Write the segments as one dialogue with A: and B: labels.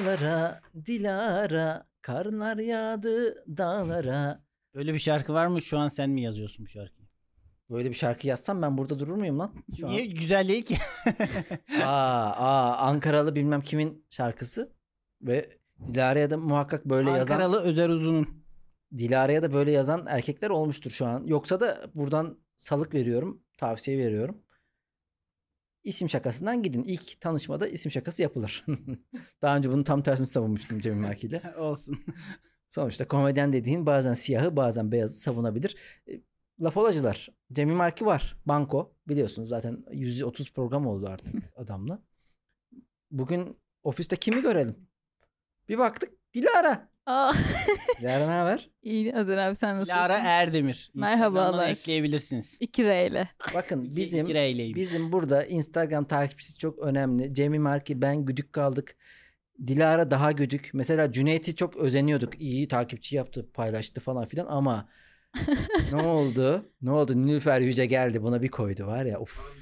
A: Dilara, Dilara, karlar yağdı dağlara.
B: Öyle bir şarkı var mı? Şu an sen mi yazıyorsun bu şarkıyı?
A: Böyle bir şarkı yazsam ben burada durur muyum lan? Şu an.
B: Niye? Güzel değil ki.
A: Aa, aa, Ankaralı bilmem kimin şarkısı ve Dilara'ya da muhakkak böyle yazan
B: Ankaralı Özer Uzun'un.
A: Dilara'ya da böyle yazan erkekler olmuştur şu an. Yoksa da buradan salık veriyorum, tavsiye veriyorum. İsim şakasından gidin. İlk tanışmada isim şakası yapılır. Daha önce bunun tam tersini savunmuştum Cemil Marki ile.
B: Olsun.
A: Sonuçta komedyen dediğin bazen siyahı bazen beyazı savunabilir. E, Laf olacılar. Cemil Marki var. Banko. Biliyorsunuz zaten 130 program oldu artık adamla. Bugün ofiste kimi görelim? Bir baktık Dilara.
C: Aa,
A: Dilara ne haber?
C: iyi Özer abi sen nasılsın?
B: Lara
A: Er-
B: Erdemir.
C: Merhabalar.
B: Instagram'dan ekleyebilirsiniz.
C: İki R ile.
A: Bakın
B: İki-
A: bizim
B: iki reyleyim.
A: Bizim burada Instagram takipçisi çok önemli. Cemil Marki ben güdük kaldık. Dilara daha güdük. Mesela Cüneyt'i çok özeniyorduk. İyi takipçi yaptı, paylaştı falan filan ama ne oldu? Ne oldu? Nilüfer Yüce geldi buna bir koydu var ya. Of.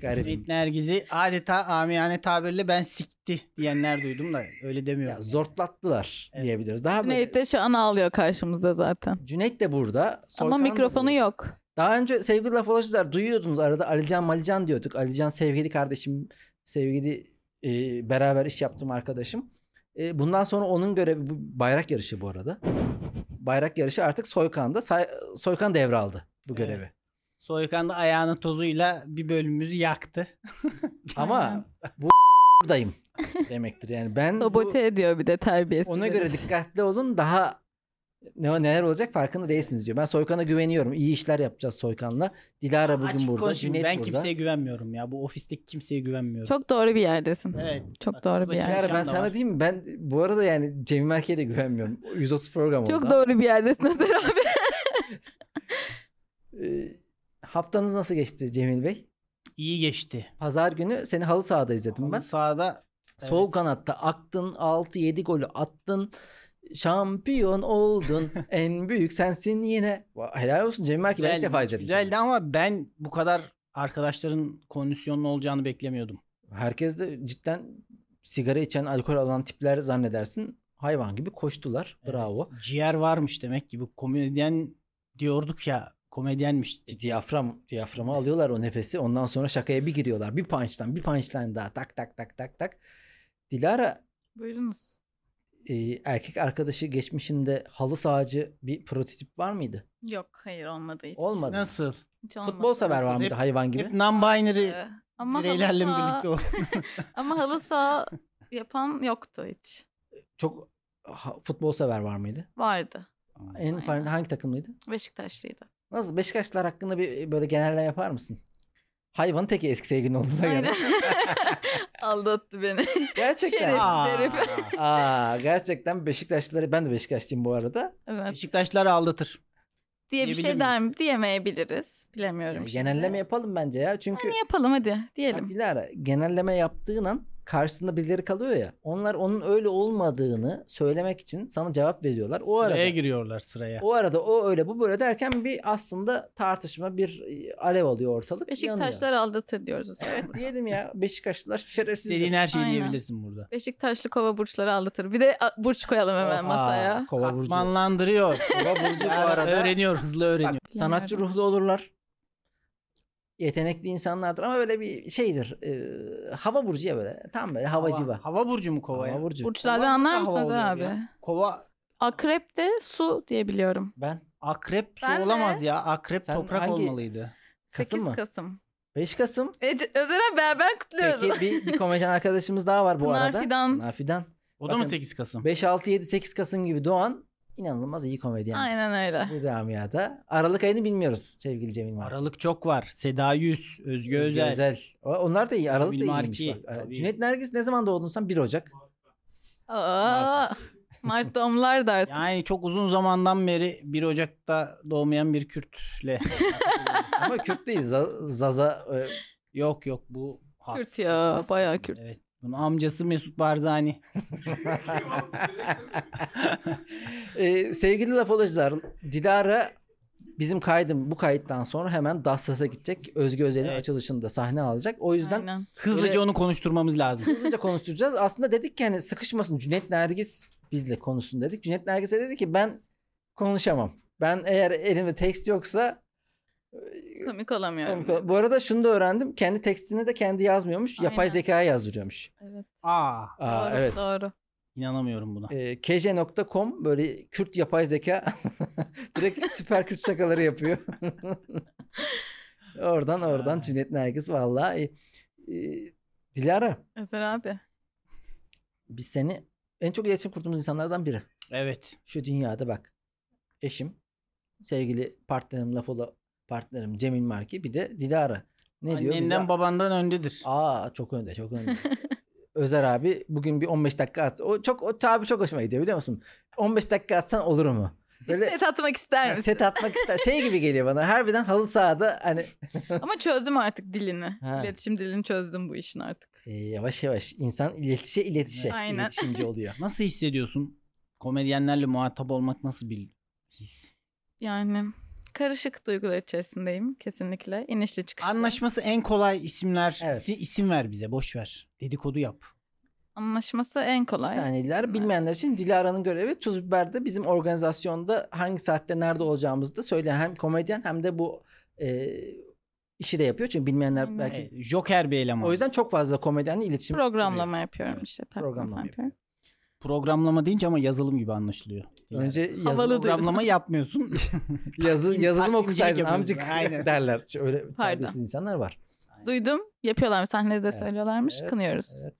A: Garip.
B: Cüneyt Nergiz'i adeta amiyane tabirle ben sikti diyenler duydum da öyle
A: Ya
B: demiyorum.
A: zortlattılar
B: Evet.
A: diyebiliriz. Daha böyle-
C: Cüneyt de şu an ağlıyor karşımızda zaten.
A: Cüneyt de burada. Soykan da
C: Ama mikrofonu
A: burada.
C: yok.
A: Daha önce sevgili laf Olaşıcılar duyuyordunuz arada Alican Malican diyorduk. Alican sevgili kardeşim, sevgili e, beraber iş yaptığım arkadaşım. E, bundan sonra onun görevi bu bayrak yarışı bu arada. bayrak yarışı artık Soykan'da. Say, Soykan devraldı bu
B: Evet.
A: görevi.
B: Soykan da ayağının tozuyla bir bölümümüzü yaktı.
A: Ama bu buradayım demektir. Yani ben bu-
C: Sabote ediyor bir de terbiyesiz.
A: ona
C: herif.
A: göre dikkatli olun daha ne neler olacak farkında değilsiniz diyor. Ben Soykan'a güveniyorum. İyi işler yapacağız Soykan'la. Dilara bugün
B: Açık
A: burada.
B: konuşayım,
A: Cüneyt
B: ben
A: burada.
B: kimseye güvenmiyorum ya. Bu ofisteki kimseye güvenmiyorum.
C: Çok doğru bir yerdesin.
B: evet.
C: Çok doğru bir
B: Bakın
C: yer.
A: Yani ben
B: Perşembe
A: sana
B: var.
A: diyeyim mi? Ben bu arada yani Cemil Merke'ye de güvenmiyorum. 130 program oldu.
C: Çok doğru bir yerdesin Özer abi.
A: Ee, haftanız nasıl geçti Cemil Bey?
B: İyi geçti.
A: Pazar günü seni halı sahada izledim ben.
B: Ama sahada evet.
A: Sol kanatta aktın 6-7 golü attın. Şampiyon oldun. en büyük sensin yine. Vay, Helal olsun Cemil Merke ben ilk defa izledim.
B: Güzeldi
A: seni.
B: ama ben bu kadar arkadaşların kondisyonlu olacağını beklemiyordum.
A: Herkes de cidden sigara içen, alkol alan tipler zannedersin. Hayvan gibi koştular. Bravo.
B: Evet, Ciğer varmış demek ki bu komedyen diyorduk ya komedyenmiş.
A: E, Diyafram, diyaframı alıyorlar o nefesi. Ondan sonra şakaya bir giriyorlar. Bir punch'tan, bir punch'tan daha tak tak tak tak tak. Dilara
C: Buyurunuz.
A: e, erkek arkadaşı geçmişinde halı sahacı bir prototip var mıydı?
C: Yok hayır olmadı hiç.
A: Olmadı.
B: Nasıl?
C: Hiç
A: Futbol sever var
B: Nasıl?
A: mıydı
B: Hep-
A: hayvan gibi?
B: Hep non-binary
C: Ee, Ama
B: bireylerle mi
C: halı
B: birlikte
C: saha,
B: o?
C: ama halı saha yapan yoktu hiç.
A: Çok ha- futbol sever var mıydı?
C: Vardı.
A: En
C: Aynen.
A: farklı hangi takımlıydı?
C: Beşiktaşlıydı.
A: Nasıl Beşiktaşlılar hakkında bir böyle genelleme yapar mısın? Hayvan teki eski sevgilin olduğuna göre.
C: Aynen. Aldattı beni.
A: Gerçekten.
C: Şerefsiz.
B: Aa.
C: herif.
A: Aa, gerçekten Beşiktaşlıları ben de Beşiktaşlıyım bu arada.
C: evet.
B: Beşiktaşlar aldatır.
C: Diye bir
B: diyebilir
C: şey
B: miyiz?
C: der mi? Diyemeyebiliriz. Bilemiyorum. şimdi.
A: Genelleme yapalım bence ya. Çünkü
C: şey Yani yapalım hadi
A: Ya
C: diyelim.
A: Dilara genelleme yaptığın an karşısında birileri kalıyor ya. Onlar onun öyle olmadığını söylemek için sana cevap veriyorlar. O
B: sıraya
A: arada
B: giriyorlar sıraya.
A: o arada o öyle bu böyle derken bir aslında tartışma bir e, alev alıyor ortalık. yanıyor.
C: Beşiktaşlar aldatır diyoruz o zaman.
A: Evet diyelim ya Beşiktaşlılar şerefsiz.
B: İstediğin her şeyi
C: Aynen.
B: diyebilirsin burada.
C: Beşiktaşlı kova burçları aldatır. Bir de a, burç koyalım hemen masaya.
A: Kova burcu.
B: Katmanlandırıyor.
A: Kova burcu bu
B: Yani
A: arada.
B: Öğreniyor, hızlı öğreniyor.
A: Bak, sanatçı
C: Bilmiyorum.
A: ruhlu olurlar. Yetenekli insanlardır ama böyle bir şeydir. e, hava burcu ya böyle. Tam böyle havacı var.
B: Hava burcu mu kova ya?
A: Hava burcu.
C: Burçlardan
B: Kova nasıl
C: anlar
B: hava
C: mısınız
B: oluyor
C: abi?
B: ya? Kova
C: Akrep de su diye biliyorum.
A: Ben
B: akrep su
C: Ben de.
B: olamaz ya. Akrep
A: Sen
B: toprak
A: hangi-
B: olmalıydı.
A: Kasım
C: 8
A: mı?
C: Kasım.
A: 5 Kasım
C: E, C- Özer abi beraber kutluyoruz.
A: Peki bir, bir komedyen arkadaşımız daha var bu
C: Pınar
A: arada.
C: Fidan.
A: Pınar Fidan.
B: O da
A: Bakın-
B: mı 8 Kasım?
A: 5, 6, 7, 8 Kasım gibi doğan inanılmaz iyi komedyen.
C: Aynen öyle.
A: Bu camiada. Aralık ayını bilmiyoruz sevgili Cemil Mark.
B: Aralık çok var. Seda Yüz, Özge,
A: Özge
B: Özel.
A: O- Onlar da iyi. Aralık
B: Cemil
A: da iyiymiş
B: Marki,
A: bak.
B: tabii.
A: Cüneyt Nergis ne zaman doğdun sen? 1 Ocak.
C: Aa, Mart doğumlar da artık.
B: Yani çok uzun zamandan beri 1 Ocak'ta doğmayan bir Kürt'le.
A: Ama Kürt değil. Za- Zaza. e,
B: yok yok bu has.
C: Kürt ya,
B: Has.
C: bayağı Kürt.
B: Evet. Bunun amcası Mesut Barzani.
A: E, sevgili laf olacaklar. Dilara Bizim kaydım bu kayıttan sonra hemen Dassas'a gidecek. Özge Özel'in
B: Evet.
A: açılışında sahne alacak. O yüzden
C: Aynen.
B: Hızlıca
A: Böyle-
B: onu konuşturmamız lazım.
A: hızlıca konuşturacağız. Aslında dedik ki hani sıkışmasın Cüneyt Nergis bizle konuşsun dedik. Cüneyt Nergis'e dedi ki ben konuşamam. Ben eğer elimde tekst yoksa
C: Komik olamıyorum.
A: bu arada şunu da öğrendim. Kendi tekstini de kendi yazmıyormuş. Yapay
C: Aynen.
A: zekaya yazdırıyormuş.
C: Evet.
B: Aa,
A: Aa,
C: doğru,
A: evet.
C: doğru.
B: inanamıyorum buna.
A: Ee, kj.com böyle Kürt yapay zeka direkt süper Kürt şakaları yapıyor. oradan oradan
B: Ay.
A: Cüneyt Nergis vallahi e, e, Dilara
C: Özer abi.
A: biz seni en çok iletişim kurduğumuz insanlardan biri.
B: Evet.
A: Şu dünyada bak eşim sevgili partnerim Lafola partnerim Cemil Marki bir de Dilara. Ne diyor bize?
B: Annenden babandan öndedir.
A: Aa çok önde çok önde. Özer abi bugün bir 15 dakika at. O çok o tabi çok hoşuma gidiyor biliyor musun? 15 dakika atsan olur mu? Böyle
C: Set atmak ister misin?
A: set atmak ister. Şey gibi geliyor bana. Harbiden halı sahada hani
C: Ama çözdüm artık dilini.
A: Ha.
C: İletişim dilini çözdüm bu işin artık.
A: E, yavaş yavaş insan iletişe iletişe
C: Aynen.
A: iletişimci oluyor.
B: Nasıl hissediyorsun? Komedyenlerle muhatap olmak nasıl bir his?
C: Yani karışık duygular içerisindeyim kesinlikle. İnişli çıkışlı.
B: Anlaşması en kolay isimler.
A: Evet.
B: Si- isim ver bize boş ver. Dedikodu yap.
C: Anlaşması en kolay.
A: Saniyeler bilmeyenler için Dilara'nın görevi Tuz Biber'de bizim organizasyonda hangi saatte nerede olacağımızı da söyle. Hem komedyen hem de bu e, işi de yapıyor. Çünkü bilmeyenler
C: Aynen.
A: belki.
B: E, Joker bir eleman.
A: O yüzden çok fazla komedyenle iletişim
C: Programlama yapıyorum işte. takvim
A: Programlama
C: falan
A: yapıyor.
B: programlama deyince ama yazılım gibi anlaşılıyor. Yani
A: Önce yazı-
C: Havalı duydu.
B: programlama yapmıyorsun.
A: Yazı,
B: Takvim-
A: yazılım
B: takvimcilik
A: okusaydın
B: yapıyoruz.
A: amcık
B: Aynen.
A: derler. Şu Öyle
C: Pardon.
A: terbiyesiz insanlar var.
C: Duydum. Yapıyorlar sahnede de
A: Evet,
C: söylüyorlarmış.
A: evet,
C: Kınıyoruz.
A: evet.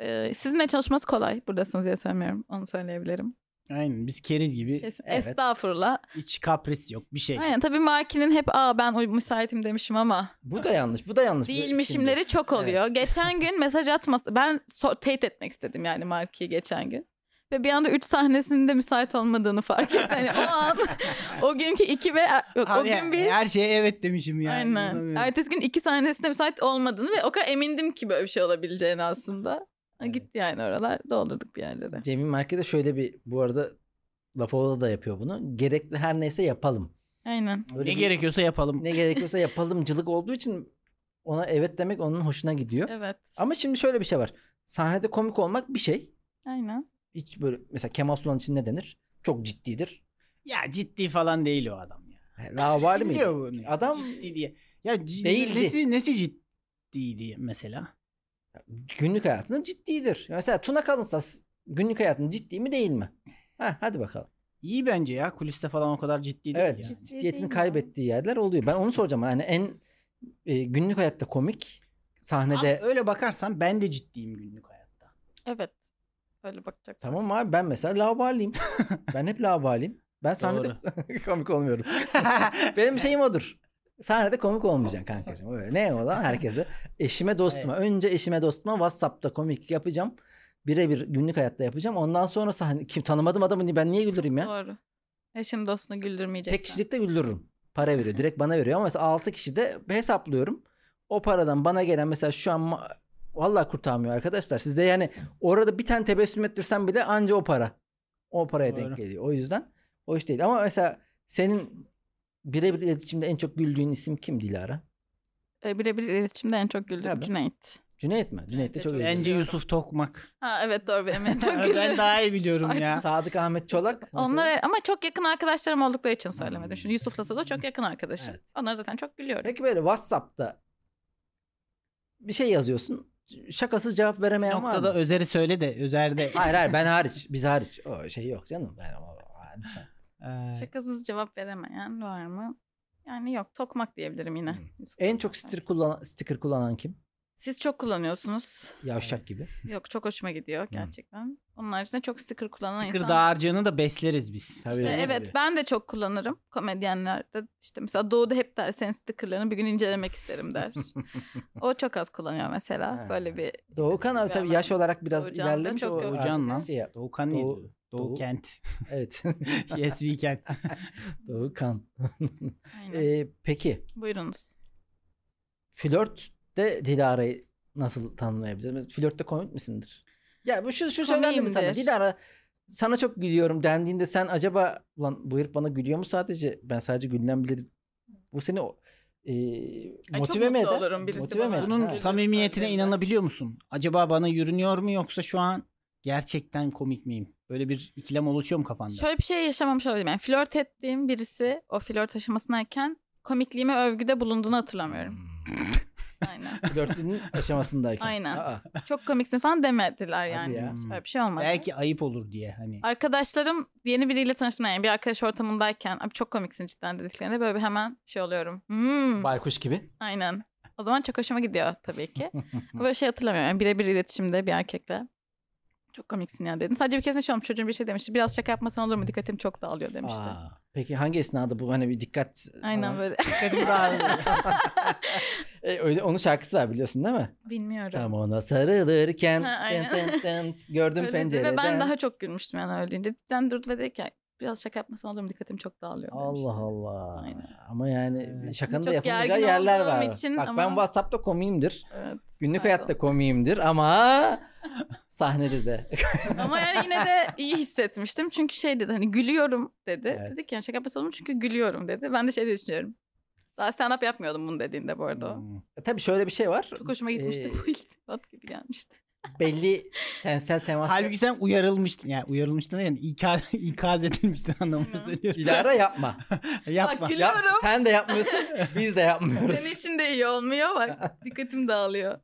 C: Ee, sizinle çalışması kolay. Buradasınız diye söylemiyorum. Onu söyleyebilirim.
B: Aynen biz keriz gibi
C: Kesin.
A: Evet.
C: Estağfurullah.
B: hiç kapris yok bir şey.
C: Aynen tabii Marki'nin hep aa ben uy- müsaitim demişim ama
A: Bu da yanlış. Bu da yanlış. Bu-
C: Ah, değilmişimleri çok oluyor. Geçen gün mesaj atması ben so- teyit etmek istedim yani Marki'yi geçen gün. Ve bir anda 3 sahnesinde müsait olmadığını fark ettim. Hani o an o günkü 2 ve er, yok, o
B: Abi
C: gün bir
B: Her şeye evet demişim yani.
C: Aynen.
B: İnanamıyorum.
C: Ertesi gün iki sahnesinde müsait olmadığını ve o kadar emindim ki böyle bir şey olabileceğini aslında.
A: Evet.
C: Gitti yani oralar. Doldurduk bir yerlere.
A: Şimdi Cemil Marki de şöyle bir bu arada Lafola da yapıyor bunu. Gerekli her neyse yapalım.
C: Aynen.
A: Böyle
B: ne
A: bir-
B: gerekiyorsa yapalım.
A: ne gerekiyorsa yapalımcılık olduğu için ona evet demek onun hoşuna gidiyor.
C: Evet.
A: Ama şimdi şöyle bir şey var. Sahnede komik olmak bir şey.
C: Aynen.
A: Hiç böyle mesela Kemal Sunal için ne denir? Çok ciddidir.
B: Ya ciddi falan değil o adam ya.
A: Lavali
B: Kim
A: miydi?
B: diyor bunu?
A: Adam-
B: ciddi diye. Ya c-
A: Değildi.
B: Nesi, nesi ciddi diye mesela?
A: Günlük hayatında ciddidir. Mesela Tuna Kalınsa s- günlük hayatında ciddi mi değil mi? Ha, hadi bakalım.
B: İyi bence ya kuliste falan o kadar ciddi değil
A: Evet
B: ya.
A: cid-
C: Değil
A: ciddiyetini
C: mi?
A: kaybettiği yerler oluyor. Ben onu soracağım. Yani en e, günlük hayatta komik
B: Ama
A: sahnede
B: öyle bakarsan ben de ciddiyim günlük hayatta.
C: Evet. Öyle bakacak.
A: Tamam abi ben mesela lavaliyim. ben hep lavaliyim. Ben sahnede komik olmuyorum. Benim şeyim odur. Sahnede komik olmayacaksın kankacığım. Öyle. Ne o lan herkese? Eşime dostuma. Önce eşime dostuma Whatsapp'ta komik yapacağım. Birebir günlük hayatta yapacağım. Ondan sonra sahne kim tanımadım adamı ni- ben niye güldüreyim ya?
C: Doğru. Eşim dostunu güldürmeyeceksin.
A: Tek kişilikte güldürürüm. Para veriyor. Direkt bana veriyor ama mesela 6 kişi de hesaplıyorum. O paradan bana gelen mesela şu an ma- vallahi kurtarmıyor arkadaşlar. Sizde yani orada bir tane tebessüm ettirsem bile anca o para. O paraya
B: Doğru.
A: denk geliyor. O yüzden o iş değil. Ama mesela senin birebir iletişimde en çok güldüğün isim kim Dilara?
C: Ee, birebir iletişimde en çok güldüğüm
A: Tabii.
C: Cüneyt.
A: Cüneyt mi? Cüneyt de
C: Cüneyt'e
A: çok
C: çok-
A: eğlenceli.
B: Bence Yusuf Tokmak.
C: Ha evet doğru benim en çok
B: ben
C: güldüğüm.
B: daha iyi biliyorum
C: Artık
B: ya.
A: Sadık Ahmet Çolak. mesela.
C: Onlara ama çok yakın arkadaşlarım oldukları için söylemedim. Şimdi
B: Hmm.
C: Yusuf'la da çok yakın arkadaşım.
A: Evet.
C: Onlar zaten çok gülüyorum.
A: Peki böyle Whatsapp'ta bir şey yazıyorsun. Şakasız cevap
B: Bir
A: veremeyen var mı?
B: noktada Özer'i söyle de Özer de.
A: Hayır hayır ben hariç. Biz hariç. O şey yok canım. Ben, o- o- lütfen.
B: Ee,
C: Şakasız cevap veremeyen var mı? Yani yok. Tokmak diyebilirim yine.
A: Hmm.
C: Yusuf'la
A: en çok
C: beraber.
A: sticker kullanan, sticker kullanan kim?
C: Siz çok kullanıyorsunuz.
A: Yavşak gibi.
C: Yok çok hoşuma
A: Hmm.
C: gidiyor gerçekten. Onun haricinde çok sticker kullanan
B: Tıkır
C: insan.
B: dağarcığını da besleriz biz.
A: Tabii.
C: İşte
A: Yani
C: evet
A: tabii.
C: ben de çok kullanırım komedyenlerde. işte mesela Doğu'da hep der senin stickerlarını bir gün incelemek isterim der. o çok az kullanıyor mesela.
A: Ha.
C: Böyle bir
A: Doğukan abi
C: bir
A: tabii
C: adam.
A: yaş olarak biraz
C: Doğucan da
A: ilerlemiş.
C: çok
A: o
C: yok.
B: Doğucan
A: artık
B: lan.
A: Şey yap-
B: Doğukan neydi?
A: Doğu-
B: Doğu,
A: Doğu-
B: Kent.
A: evet.
B: yes we can.
A: Doğukan.
C: Aynen.
A: Ee, peki
C: Buyurunuz.
A: flört de Dilara'yı nasıl tanımlayabiliriz? Flörtte komik misindir? Ya bu şu, şu söylendi mi sana?
C: Komiyimdir.
A: Dilara sana çok gülüyorum dendiğinde sen acaba ulan bu herif bana gülüyor mu sadece? Ben sadece gülünen bile bu seni o- e,
C: Ay, çok
A: motive mi
C: mutlu
A: eder?
C: olurum birisi
A: Motive mi
C: bana.
A: eder?
B: Bunun
A: Ha.
C: Evet.
B: samimiyetine
C: Gülüyoruz
B: inanabiliyor musun? Acaba bana yürünüyor mu yoksa şu an gerçekten komik miyim? Böyle bir ikilem oluşuyor mu kafanda?
C: Şöyle bir şey yaşamamış olabilirim. Yani flört ettiğim birisi o flört aşamasındayken komikliğime övgüde bulunduğunu hatırlamıyorum.
A: Hmm.
C: Aynen.
A: Flörtünün aşamasındayken.
C: Aynen.
A: Aa,
C: Çok komiksin falan demediler
A: Hadi
C: yani.
A: ya. Hmm.
C: Böyle bir şey olmadı.
B: Belki ayıp olur diye hani.
C: Arkadaşlarım yeni biriyle tanıştım yani bir arkadaş ortamındayken abi çok komiksin cidden dediklerinde böyle bir hemen şey oluyorum. Hmm,
A: baykuş gibi.
C: aynen. O zaman çok hoşuma gidiyor tabii ki. Ama böyle şey hatırlamıyorum. Yani birebir iletişimde bir erkekle. Çok komiksin ya dedin. Sadece bir keresinde şey olmuş. Çocuğun bir şey demişti. Biraz şaka yapmasan olur mu? Dikkatim çok dağılıyor demişti.
A: Aa, peki hangi esnada bu hani bir dikkat?
C: Aynen
A: falan?
C: böyle.
B: Dikkatim dağıldı.
A: E, öyle onun şarkısı var biliyorsun değil mi?
C: Bilmiyorum.
A: Tam ona sarılırken
C: Ha, aynen.
A: tın tın tın, gördüm
C: Öyle dedi
A: pencereden.
C: Ve ben daha çok gülmüştüm yani öyle deyince. Cidden durdu ve dedi ki biraz şaka yapmasan olur mu? Dikkatim çok dağılıyor demişti.
A: Allah Allah.
C: Aynen.
A: Ama yani
B: Evet.
A: şakanın da
C: Çok
A: yapamayacağı
C: gergin
A: yerler
C: olduğum
A: var.
C: için
A: Bak
C: ama-
A: ben WhatsApp'ta komiyimdir.
C: Evet.
A: Günlük
C: Pardon.
A: hayatta komiyimdir ama sahnede de.
C: Ama yani yine de iyi hissetmiştim. Çünkü şey dedi hani gülüyorum dedi.
A: Evet.
C: Dedik yani şaka yapmasan olur mu? Çünkü gülüyorum dedi. Ben de şey diye düşünüyorum. Daha stand up yapmıyordum bunu dediğinde bu arada. o.
B: Hmm.
A: Tabii şöyle bir şey var.
C: Çok hoşuma gitmişti
A: Ee,
C: bu iltifat gibi gelmişti.
A: Belli tensel temas.
B: Halbuki sen uyarılmıştın. Yani uyarılmıştın yani ikaz, ikaz edilmiştin anlamını
C: Hı.
B: söylüyorum.
A: Dilara yapma.
B: Yapma.
C: Bak gül-
A: Yap-
C: Biliyorum.
A: sen de yapmıyorsun, biz de
C: Senin
A: yapmıyoruz.
C: için de iyi olmuyor bak. Dikkatim dağılıyor.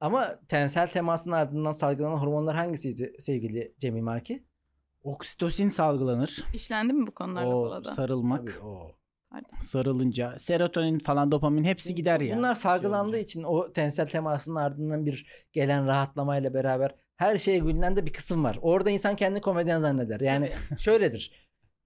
A: Ama tensel temasın ardından salgılanan hormonlar hangisiydi sevgili Cemil Marki?
B: Oksitosin salgılanır.
C: İşlendi mi bu konularda bu
B: O
C: arada?
B: sarılmak.
A: Tabii o.
B: Sarılınca. Serotonin falan dopamin hepsi gider ya.
A: Bunlar salgılandığı
B: Şey
A: için o tensel temasın ardından bir gelen rahatlamayla beraber her şeye gülünen de bir kısım var. Orada insan kendini komedyen zanneder. Yani şöyledir.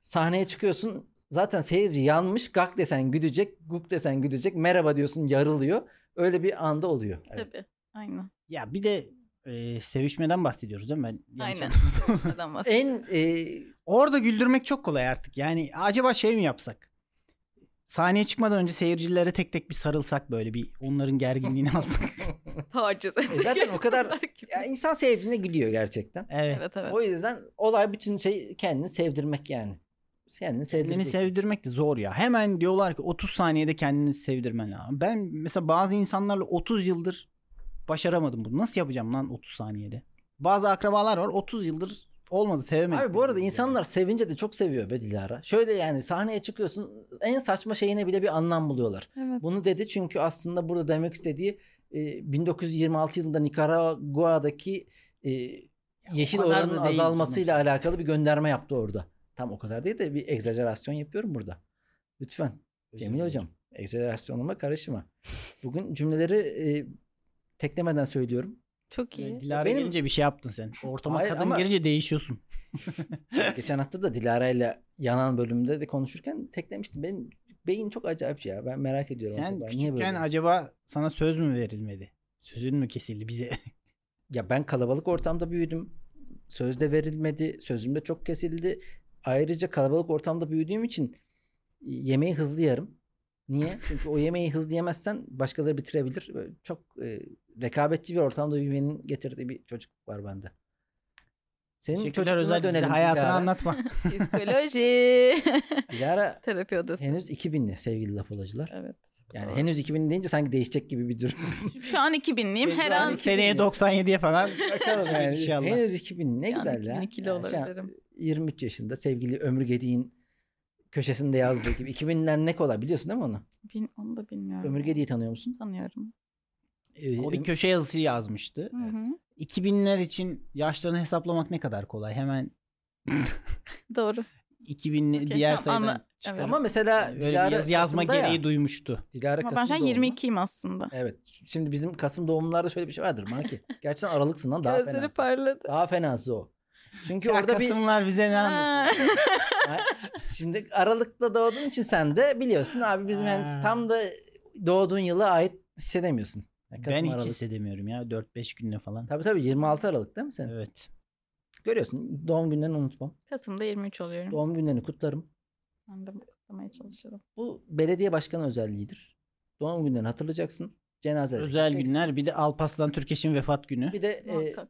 A: Sahneye çıkıyorsun zaten seyirci yanmış gak desen gülecek, guk desen gülecek, merhaba diyorsun yarılıyor. Öyle bir anda oluyor. Evet.
C: Tabii. Aynen.
B: Ya bir de e, sevişmeden bahsediyoruz değil mi? Ben yanlış
C: Aynen.
B: hatırlamıyorsam.
C: Adam bahsediyor.
A: En e,
B: Orada güldürmek çok kolay artık. Yani acaba şey mi yapsak? Sahneye çıkmadan önce seyircilere tek tek bir sarılsak böyle bir onların gerginliğini alsak.
C: taciz
A: E zaten o kadar-
C: ediyorlar gibi.
A: ya insan sevdiğine gülüyor gerçekten.
B: Evet.
C: Evet evet.
A: O yüzden olay bütün şey kendini sevdirmek yani. Kendini
B: Kendini
A: sevdireceksin.
B: sevdirmek de zor ya. Hemen diyorlar ki 30 saniyede kendini sevdirmen lazım. Ben mesela bazı insanlarla 30 yıldır başaramadım bunu. Nasıl yapacağım lan 30 saniyede? Bazı akrabalar var 30 yıldır olmadı sevemedim.
A: Abi bu arada insanlar sevince de çok seviyor be Dilara. Şöyle yani sahneye çıkıyorsun en saçma şeyine bile bir anlam buluyorlar.
C: evet.
A: Bunu dedi çünkü aslında burada demek istediği e, 1926 yılında Nikaragua'daki e, yeşil
B: o kadar da
A: oranın
B: değil
A: azalmasıyla alakalı bir gönderme yaptı orada. Tam o kadar değil de bir egzajerasyon yapıyorum burada. Lütfen Cemil hocam egzajerasyonuma karışma. Bugün cümleleri e, teklemeden söylüyorum.
C: Çok iyi.
B: Dilara
A: Benim-
B: gelince bir şey yaptın sen. Ortama
A: Hayır
B: kadın
A: ama-
B: girince değişiyorsun.
A: Geçen hafta da Dilara ile yanan bölümde de konuşurken teklemiştim. Benim beyin çok acayip ya. Ben merak ediyorum.
B: Sen
A: acaba niye böyle?
B: küçükken acaba sana söz mü verilmedi? Sözün mü kesildi bize?
A: Ya ben kalabalık ortamda büyüdüm. Sözde verilmedi. Sözüm de çok kesildi. Ayrıca kalabalık ortamda büyüdüğüm için yemeği hızlı yerim. Niye? Çünkü o yemeği hızlı yemezsen başkaları bitirebilir. Böyle Çok e, rekabetçi bir ortamda büyümenin getirdiği bir çocukluk var bende. Senin
B: Teşekkürler
A: çocukluğuna
B: özel bize
A: dönelim
B: hayatını
A: Dilara.
B: anlatma.
C: Psikoloji.
A: Dilara
C: Terapi odası.
A: henüz 2000'li sevgili lapolacılar.
C: Evet.
A: Yani
B: Doğru.
A: henüz 2000 deyince sanki değişecek gibi bir durum.
C: Şu an 2000'liyim. Her
A: Ben
C: an
B: Hani Seneye 97'ye falan.
A: Bakalım
B: yani.
A: yani.
B: İnşallah.
A: Henüz 2000 ne
C: Yani
A: güzel ya.
C: 2002'li
A: Yani şu an
C: olabilirim.
A: 23 yaşında sevgili Ömür Gedi'nin köşesinde yazdığı gibi 2000'ler ne kolay biliyorsun değil mi onu?
C: Bin, onu da bilmiyorum.
A: Ömür Gedi'yi tanıyor musun?
C: tanıyorum.
A: Ee,
B: O bir
A: Öm-
B: köşe yazısı yazmıştı.
C: Hı hı.
B: 2000'ler için yaşlarını hesaplamak ne kadar kolay. Hemen
C: Doğru.
B: 2000'li
C: Okey,
B: diğer
C: tamam,
B: sayıdan
C: anla-
B: çıkarıp
C: evet.
A: Ama mesela
B: öyle bir yazı yazma
A: Kasım'da
B: gereği
A: ya.
B: duymuştu.
A: Dilara
C: Ama ben şu an
A: Kasım doğumlu.
C: 22'yim aslında.
A: Evet. Şimdi bizim Kasım doğumlularda şöyle bir şey vardır Maki. Gerçi sen Aralıksın lan daha
C: Gözleri
A: fenası.
C: parladı.
A: Daha fenası o. Çünkü
B: Ya
A: orada bir
B: Kasımlar bize ne
C: Ha.
B: anlatıyor?
A: Ha, Şimdi Aralık'ta doğduğun için sen de biliyorsun abi bizim yani
B: Ha.
A: tam da doğduğun yıla ait hissedemiyorsun. Yani Kasım,
B: Ben hiç
A: Aralık.
B: hissedemiyorum ya 4-5 günle falan.
A: Tabii tabii 26 Aralık değil mi sen?
B: Evet.
A: Görüyorsun doğum günlerini unutmam.
C: Kasım'da 23 oluyorum.
A: Doğum günlerini kutlarım.
C: Ben de kutlamaya çalışıyorum.
A: Bu belediye başkanı özelliğidir. Doğum günlerini hatırlayacaksın. Cenaze.
B: Özel günler bir de Alpaslan Türkeş'in vefat günü.
A: Bir de e,
C: Muhakkak.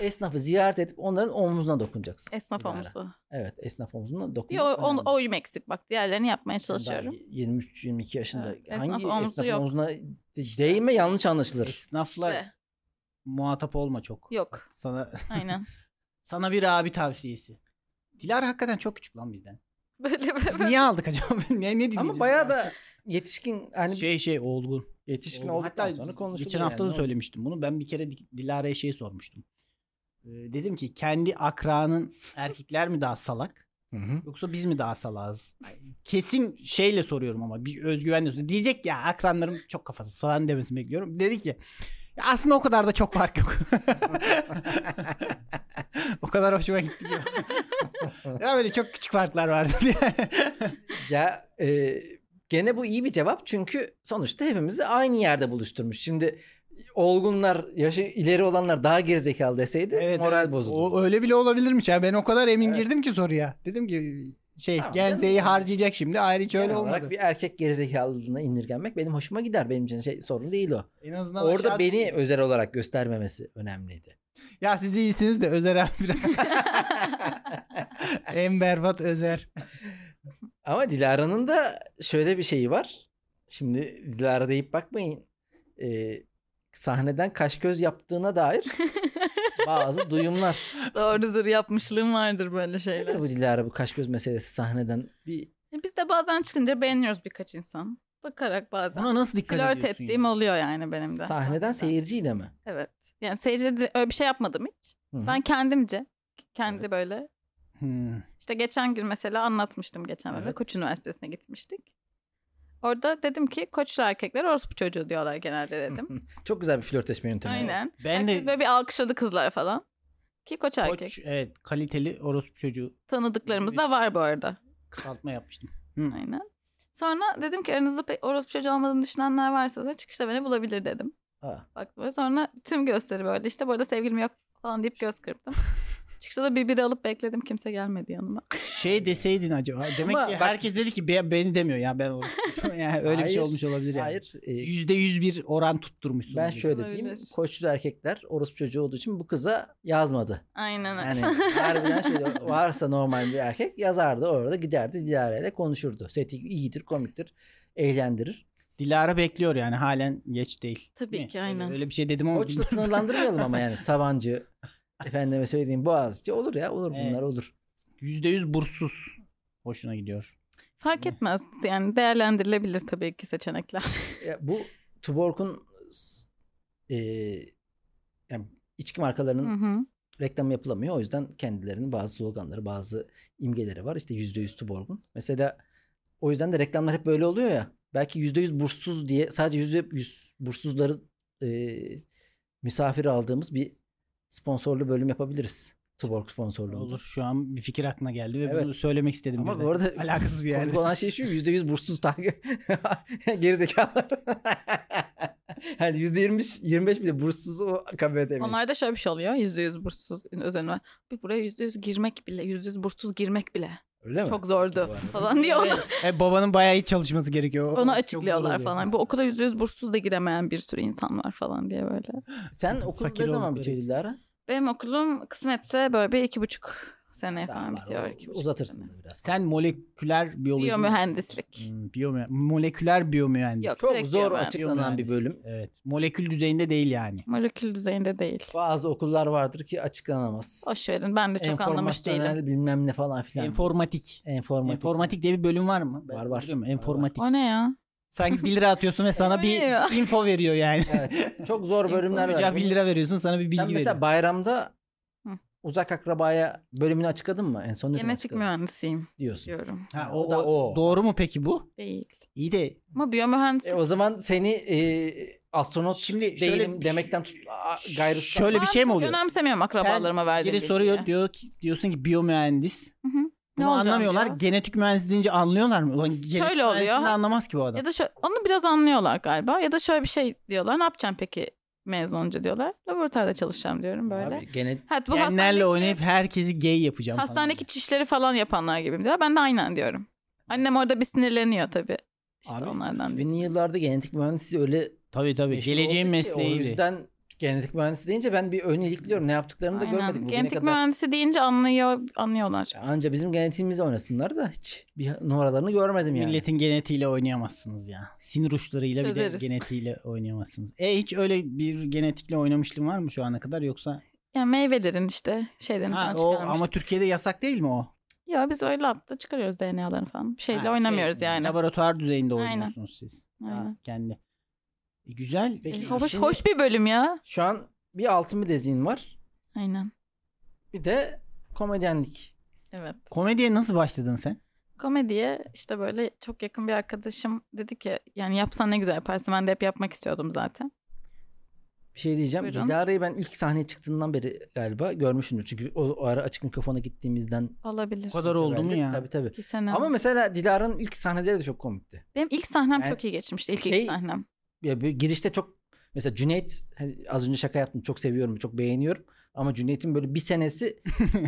A: Esnafı ziyaret edip onların omzuna dokunacaksın.
C: Esnaf
B: Güzel.
C: olmuzu.
A: Evet esnaf omzuna dokunmak.
C: Yo, o,
A: önemli.
C: o eksik bak. Diğerlerini yapmaya
A: Ben
C: çalışıyorum.
A: 23-22 yaşında.
C: Evet, esnaf
A: Hangi
C: omzu
A: esnaf
C: yok.
A: omzuna değme yanlış anlaşılır.
B: Esnafla
C: İşte
B: muhatap olma çok.
C: yok.
B: Sana
C: Aynen.
B: sana bir abi tavsiyesi. Dilara hakikaten çok küçük lan bizden.
C: Böyle
B: Biz
C: böyle.
B: niye aldık acaba? ne, ne dinleyeceğiz?
A: Ama bayağı da yetişkin hani
B: şey şey olgun.
A: yetişkin
B: Olgun.
A: olduktan
B: Hatta
A: sonra konuşulur.
B: Geçen
A: yani.
B: hafta
A: Ne
B: da
A: olacak?
B: söylemiştim bunu. Ben bir kere Di- Dilara'ya şey sormuştum. Ee, dedim ki kendi akranın erkekler mi daha salak
A: Hı hı.
B: yoksa biz mi daha salağız? Kesin şeyle soruyorum ama bir özgüvenle soruyorum. Diyecek ya akranlarım çok kafasız falan demesini bekliyorum. Dedi ki "Ya aslında o kadar da çok fark yok. o kadar hoşuma gitti. ki. ya böyle çok küçük farklar vardı diye.
A: Ya e, gene bu iyi bir cevap çünkü sonuçta hepimizi aynı yerde buluşturmuş. Şimdi olgunlar, yaşı ileri olanlar daha gerizekalı deseydi moral
B: evet.
A: bozulur.
B: O, öyle bile olabilirmiş ya. Ben o kadar emin
A: Evet.
B: girdim ki soruya. Dedim ki şey
A: Tamam,
B: Gen
A: canım.
B: Z'yi harcayacak şimdi. Ayrı hiç öyle
A: Genel olarak
B: olmadı.
A: bir erkek gerizekalılığına indirgenmek benim hoşuma gider. Benim için şey, sorun değil o.
B: En azından
A: Orada
B: aşağı-
A: beni özel olarak göstermemesi önemliydi.
B: Ya siz iyisiniz de Özer abi biraz. en berbat Özer.
A: Ama Dilara'nın da şöyle bir şeyi var. Şimdi Dilara deyip bakmayın. Ee, sahneden kaş göz yaptığına dair bazı duyumlar.
C: Doğrudur yapmışlığım vardır böyle şeyler.
A: Nedir bu Dilara bu kaş göz meselesi sahneden? Bir
C: E, Biz de bazen çıkınca beğeniyoruz birkaç insan. Bakarak bazen.
B: Buna nasıl dikkat
C: Flört
B: ediyorsun?
C: ettiğim oluyor yani benim de.
A: sahneden seyirciyle mi?
C: Evet. Yani seyirci de- öyle bir şey yapmadım hiç.
A: Hı.
C: Ben kendimce. Kendi
A: Evet.
C: böyle.
B: Hmm.
C: İşte geçen gün mesela anlatmıştım geçen bölümde.
A: Evet.
C: Koç Üniversitesi'ne gitmiştik. Orada dedim ki koçlu erkekler orospu çocuğu diyorlar genelde dedim.
A: Çok güzel bir flörtleşme yöntemi.
C: Aynen.
B: Ben
C: Herkes
B: de
C: böyle şey bir alkışladı kızlar falan. Ki koç erkek.
B: koç, evet, kaliteli orospu çocuğu
C: Tanıdıklarımız da var bu arada.
B: kısaltma yapmıştım.
C: Aynen. Sonra dedim ki aranızda pek orospu çocuğu olmadığını düşünenler varsa da çıkışta beni bulabilir dedim.
A: Ha.
C: Baktım ve sonra tüm gösteri böyle işte bu arada sevgilim yok falan deyip göz kırptım. çıkışta da bir biri alıp bekledim kimse gelmedi yanıma.
B: Şey deseydin acaba. Demek
A: Ama
B: ki
A: bak-
B: herkes dedi ki "Be- beni demiyor ya ben orospu. yani öyle bir
A: Hayır,
B: şey olmuş olabilir yani.
A: Hayır. e,
B: %101 bir oran tutturmuşsun.
A: ben
B: diye.
A: şöyle diyeyim.
C: Olabilir.
A: Koçlu erkekler orospu çocuğu olduğu için bu kıza yazmadı.
C: Aynen
A: Yani
C: öyle.
A: Hani harbiden şey şöyle varsa normal bir erkek yazardı orada giderdi Dilara ile konuşurdu. Seti iyidir, komiktir, eğlendirir.
B: Dilara bekliyor yani halen geç değil.
C: Tabii
B: Değil mi?
C: ki, aynen.
B: Öyle, öyle bir şey dedim ama.
A: Koçla sınırlandırmayalım ama yani Sabancı, efendime söylediğim Boğaziçi olur ya olur bunlar
B: Evet.
A: olur.
B: %100 burssuz. Hoşuna gidiyor.
C: Fark etmez yani değerlendirilebilir tabii ki seçenekler.
A: Ya bu Tuborg'un s- e, yani içki markalarının
C: Hı hı.
A: reklam yapılamıyor. O yüzden kendilerinin bazı sloganları, bazı imgeleri var. İşte %100 Tuborg'un. Mesela o yüzden de reklamlar hep böyle oluyor ya. Belki %100 burssuz diye sadece %100 burssuzları e, misafir aldığımız bir sponsorlu bölüm yapabiliriz. Tuborg sponsorluğunda.
B: Olur şu an bir fikir aklına geldi ve
A: Evet.
B: bunu söylemek istedim.
A: Ama
B: birden.
A: bu arada-
B: alakasız bir
A: Komik
B: yerde.
A: olan şey şu %100 burssuz takip. Gerizekalılar. yani %25, 25 bile burssuz o kabul edemeyiz.
C: Onlarda şöyle bir şey oluyor. Yüzde yüz burssuz özen var. Bir buraya yüzde yüz girmek bile, yüzde yüz burssuz girmek bile
A: Öyle mi?
C: çok zordu
A: Bu arada.
C: falan diyor. Ona,
B: E, babanın bayağı iyi çalışması gerekiyor. O-
C: onu
B: çok zor
C: açıklıyorlar
B: oluyor.
C: falan. Bu okula yüzde yüz burssuz da giremeyen bir sürü insan var falan diye böyle.
A: Sen okul
B: Fakir
A: ne zaman
B: oldukları
A: bitiyor
B: için.
A: Dilara?
C: Benim okulum kısmetse böyle bir iki buçuk sene
A: Daha
C: falan
A: var,
C: bitiyor.
A: o-
C: iki buçuk
A: Uzatırsın
C: sene.
A: da biraz.
B: Sen moleküler biyoloji...
C: Biyomühendislik.
B: Hmm, biyome- moleküler biyomühendis.
C: Yok.
A: Çok
C: Direkt
A: zor
C: biyomühendis.
A: açıklanan bir bölüm.
B: Evet. Molekül düzeyinde değil yani.
C: Molekül düzeyinde değil.
A: Bazı okullar vardır ki açıklanamaz.
C: Boş verin ben de çok anlamış değilim.
A: Enformasyonel bilmem ne falan filan.
B: Enformatik.
A: Enformatik.
B: Enformatik diye bir bölüm var mı?
A: Var, var.
B: biliyorum.
A: Var, var.
B: Enformatik.
C: O ne ya?
B: Sanki 1 lira atıyorsun ve sana bir
C: Öyle ya.
B: info veriyor yani.
A: Evet. Çok zor bölümler var.
B: Çocuğa 1 lira veriyorsun sana bir bilgi
A: Sen mesela
B: veriyor.
A: bayramda
C: Hı.
A: uzak akrabaya bölümünü açıkladın mı? En son ne zaman
C: Genetik
A: açıkladın?
C: mühendisiyim
A: Diyorsun.
C: diyorum.
B: Ha,
A: O da o.
B: Doğru mu peki bu?
C: Değil.
B: İyi de
C: Ama biyomühendislik
A: E, o zaman seni e, astronot
B: Şimdi
A: değilim
B: şöyle-
A: demekten tut a- gayrı tutan-
B: Şöyle bir şey mi
C: Çok
B: oluyor?
C: Önemsemiyorum akrabalarıma verdiğim
B: Biri
C: bilgiyi.
B: soruyor diyor ki diyorsun ki biyomühendis.
C: Hı hı. Ne
B: Bunu
C: olacağım
B: anlamıyorlar.
C: diyor.
B: Genetik mühendis deyince anlıyorlar mı? Ulan genetik
C: Şöyle oluyor.
B: mühendisini anlamaz ki bu adam.
C: Ya da şö- onu biraz anlıyorlar galiba. Ya da şöyle bir şey diyorlar. Ne yapacaksın peki mezun olunca diyorlar. Laboratuvarda çalışacağım diyorum böyle.
A: Abi, gene-
C: Evet, bu
B: Genlerle
C: hastanedeki,
B: oynayıp herkesi gay yapacağım falan.
C: hastanedeki çişleri falan yapanlar gibiyim diyorlar. Ben de aynen diyorum. Annem orada bir sinirleniyor tabii. İşte
A: Abi,
C: onlardan diyor.
A: 2000'li yıllarda genetik mühendisi öyle
B: Tabii tabii.
A: meşhur
B: Geleceğin
A: oldu ki, O
B: mesleğiydi.
A: yüzden Genetik mühendisi deyince ben bir ön ilikliyorum. Ne yaptıklarını da
C: Aynen.
A: görmedik bugüne
C: Genetik
A: kadar.
C: mühendisi deyince anlıyor anlıyorlar.
A: Anca bizim genetiğimizle oynasınlar da hiç bir numaralarını görmedim yani.
B: Milletin genetiğiyle oynayamazsınız ya. Sinir uçlarıyla bir de
C: Çözeriz.
B: genetiğiyle oynayamazsınız. E hiç öyle bir genetikle oynamışlığın var mı şu ana kadar yoksa?
C: Yani meyvelerin işte şeylerini
B: Ha,
C: falan
B: o,
C: çıkarmış.
B: ama Türkiye'de yasak değil mi o?
C: Ya biz öyle lapta çıkarıyoruz DNA'larını falan. Bir şeyle
B: Ha, şey,
C: oynamıyoruz yani.
B: Laboratuvar düzeyinde
C: Aynen.
B: oynuyorsunuz siz. Ha,
C: Aynen.
B: kendi. E, güzel.
A: Peki,
C: hoş,
A: şimdi-
C: hoş bir bölüm ya.
A: Şu an bir altın bileziğin var.
C: Aynen.
A: Bir de komedyenlik.
C: Evet.
B: Komediye nasıl başladın sen?
C: Komediye işte böyle çok yakın bir arkadaşım dedi ki yani yapsan ne güzel yaparsın. Ben de hep yapmak istiyordum zaten.
A: Bir şey diyeceğim.
C: Buyurun.
A: Dilara'yı ben ilk sahneye çıktığından beri galiba görmüşsündür. Çünkü o, o ara açık mikrofona gittiğimizden
C: Olabilir.
B: O kadar oldu mu
A: evveldi.
B: ya?
A: Tabii tabii.
C: İki sene.
A: Ama mesela Dilara'nın ilk sahneleri de çok komikti.
C: Benim ilk sahnem
A: Yani
C: çok iyi geçmişti. İlk
A: şey-
C: ilk sahnem.
A: Ya böyle girişte çok mesela Cüneyt hani az önce şaka yaptım. Çok seviyorum, çok beğeniyorum. Ama Cüneyt'in böyle bir senesi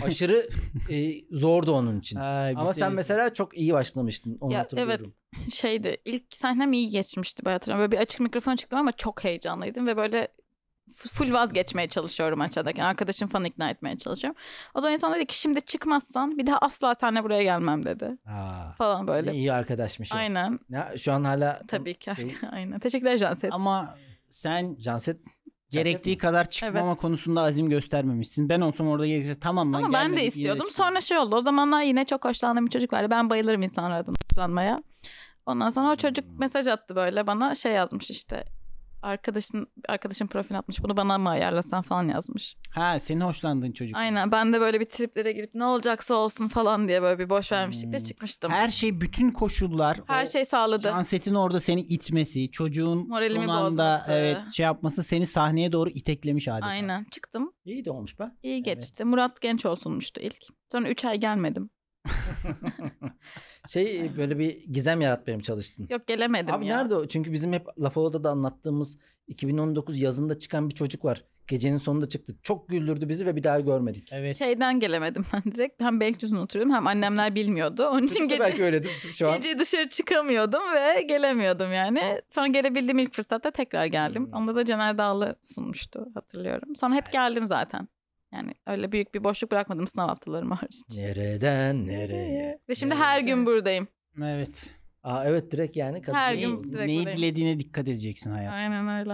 A: aşırı e, zordu onun için.
B: Ay, bir
A: Ama sen
B: sevindim.
A: mesela çok iyi başlamıştın. Onu
C: Ya,
A: hatırlıyorum.
C: evet. şeydi ilk sahnem iyi geçmişti ben hatırlıyorum. Böyle bir açık mikrofona çıktım ama çok heyecanlıydım ve böyle f- full vazgeçmeye çalışıyorum aşağıdaki. Arkadaşım falan ikna etmeye çalışıyorum. O da insan dedi ki şimdi çıkmazsan bir daha asla seninle buraya gelmem dedi.
A: Aa,
C: Falan böyle.
A: İyi arkadaşmış. o.
C: Aynen.
A: Ya, şu an hala tam
C: Tabii ki.
A: şey,
C: Aynen. Teşekkürler Janset.
B: Ama sen
A: Janset
B: gerektiği kadar çıkmama
C: Evet.
B: konusunda azim göstermemişsin. Ben olsam orada gerekirse tamam lan
C: Ama ben de
B: gelmedik, yine
C: istiyordum.
B: çıkmam.
C: Sonra şey oldu. O zamanlar yine çok hoşlandığım bir çocuk vardı. Ben bayılırım insanlardan hoşlanmaya. Ondan sonra o çocuk mesaj attı böyle bana şey yazmış işte. Arkadaşın arkadaşın profil atmış. Bunu bana mı ayarlasan falan yazmış.
B: Ha senin hoşlandığın çocuk.
C: Aynen. Ben de böyle bir triplere girip ne olacaksa olsun falan diye böyle bir boş vermişlikle
B: Hmm.
C: çıkmıştım. Her,
B: Her şey bütün koşullar. o
C: şey sağladı.
B: Janset'in orada seni itmesi, çocuğun
C: Moralimi
B: son anda
C: bozması.
B: evet şey yapması seni sahneye doğru iteklemiş adeta.
C: Aynen. Çıktım.
A: iyi de olmuş be.
C: İyi geçti. Murat Genç olsunmuştu ilk. Sonra 3 ay gelmedim.
A: şey böyle bir gizem yaratmaya mı çalıştın?
C: Yok gelemedim
A: Abi
C: ya.
A: nerede o? Çünkü bizim hep Lafola'da da anlattığımız 2019 yazında çıkan bir çocuk var. Gecenin sonunda çıktı. Çok güldürdü bizi ve bir daha görmedik.
B: Evet.
C: Şeyden gelemedim ben direkt. Hem Beylikdüzü'nde oturuyordum hem annemler bilmiyordu. Onun için
A: Çocuk da
C: gece...
A: belki öyledir şu an.
C: Gece dışarı çıkamıyordum ve gelemiyordum yani. Sonra gelebildiğim ilk fırsatta tekrar geldim.
A: Hmm.
C: Onda da Cener Dağlı sunmuştu hatırlıyorum. Sonra hep geldim zaten. Yani öyle büyük bir boşluk bırakmadım sınav haftalarımı hariç.
A: Nereden nereye?
C: Ve şimdi her gün buradayım.
B: Evet.
A: Aa evet direkt yani. Ee, kadın-
C: Her
B: Ne-
C: gün direkt
B: neyi
C: buradayım.
B: dilediğine dikkat edeceksin hayat.
C: Aynen öyle.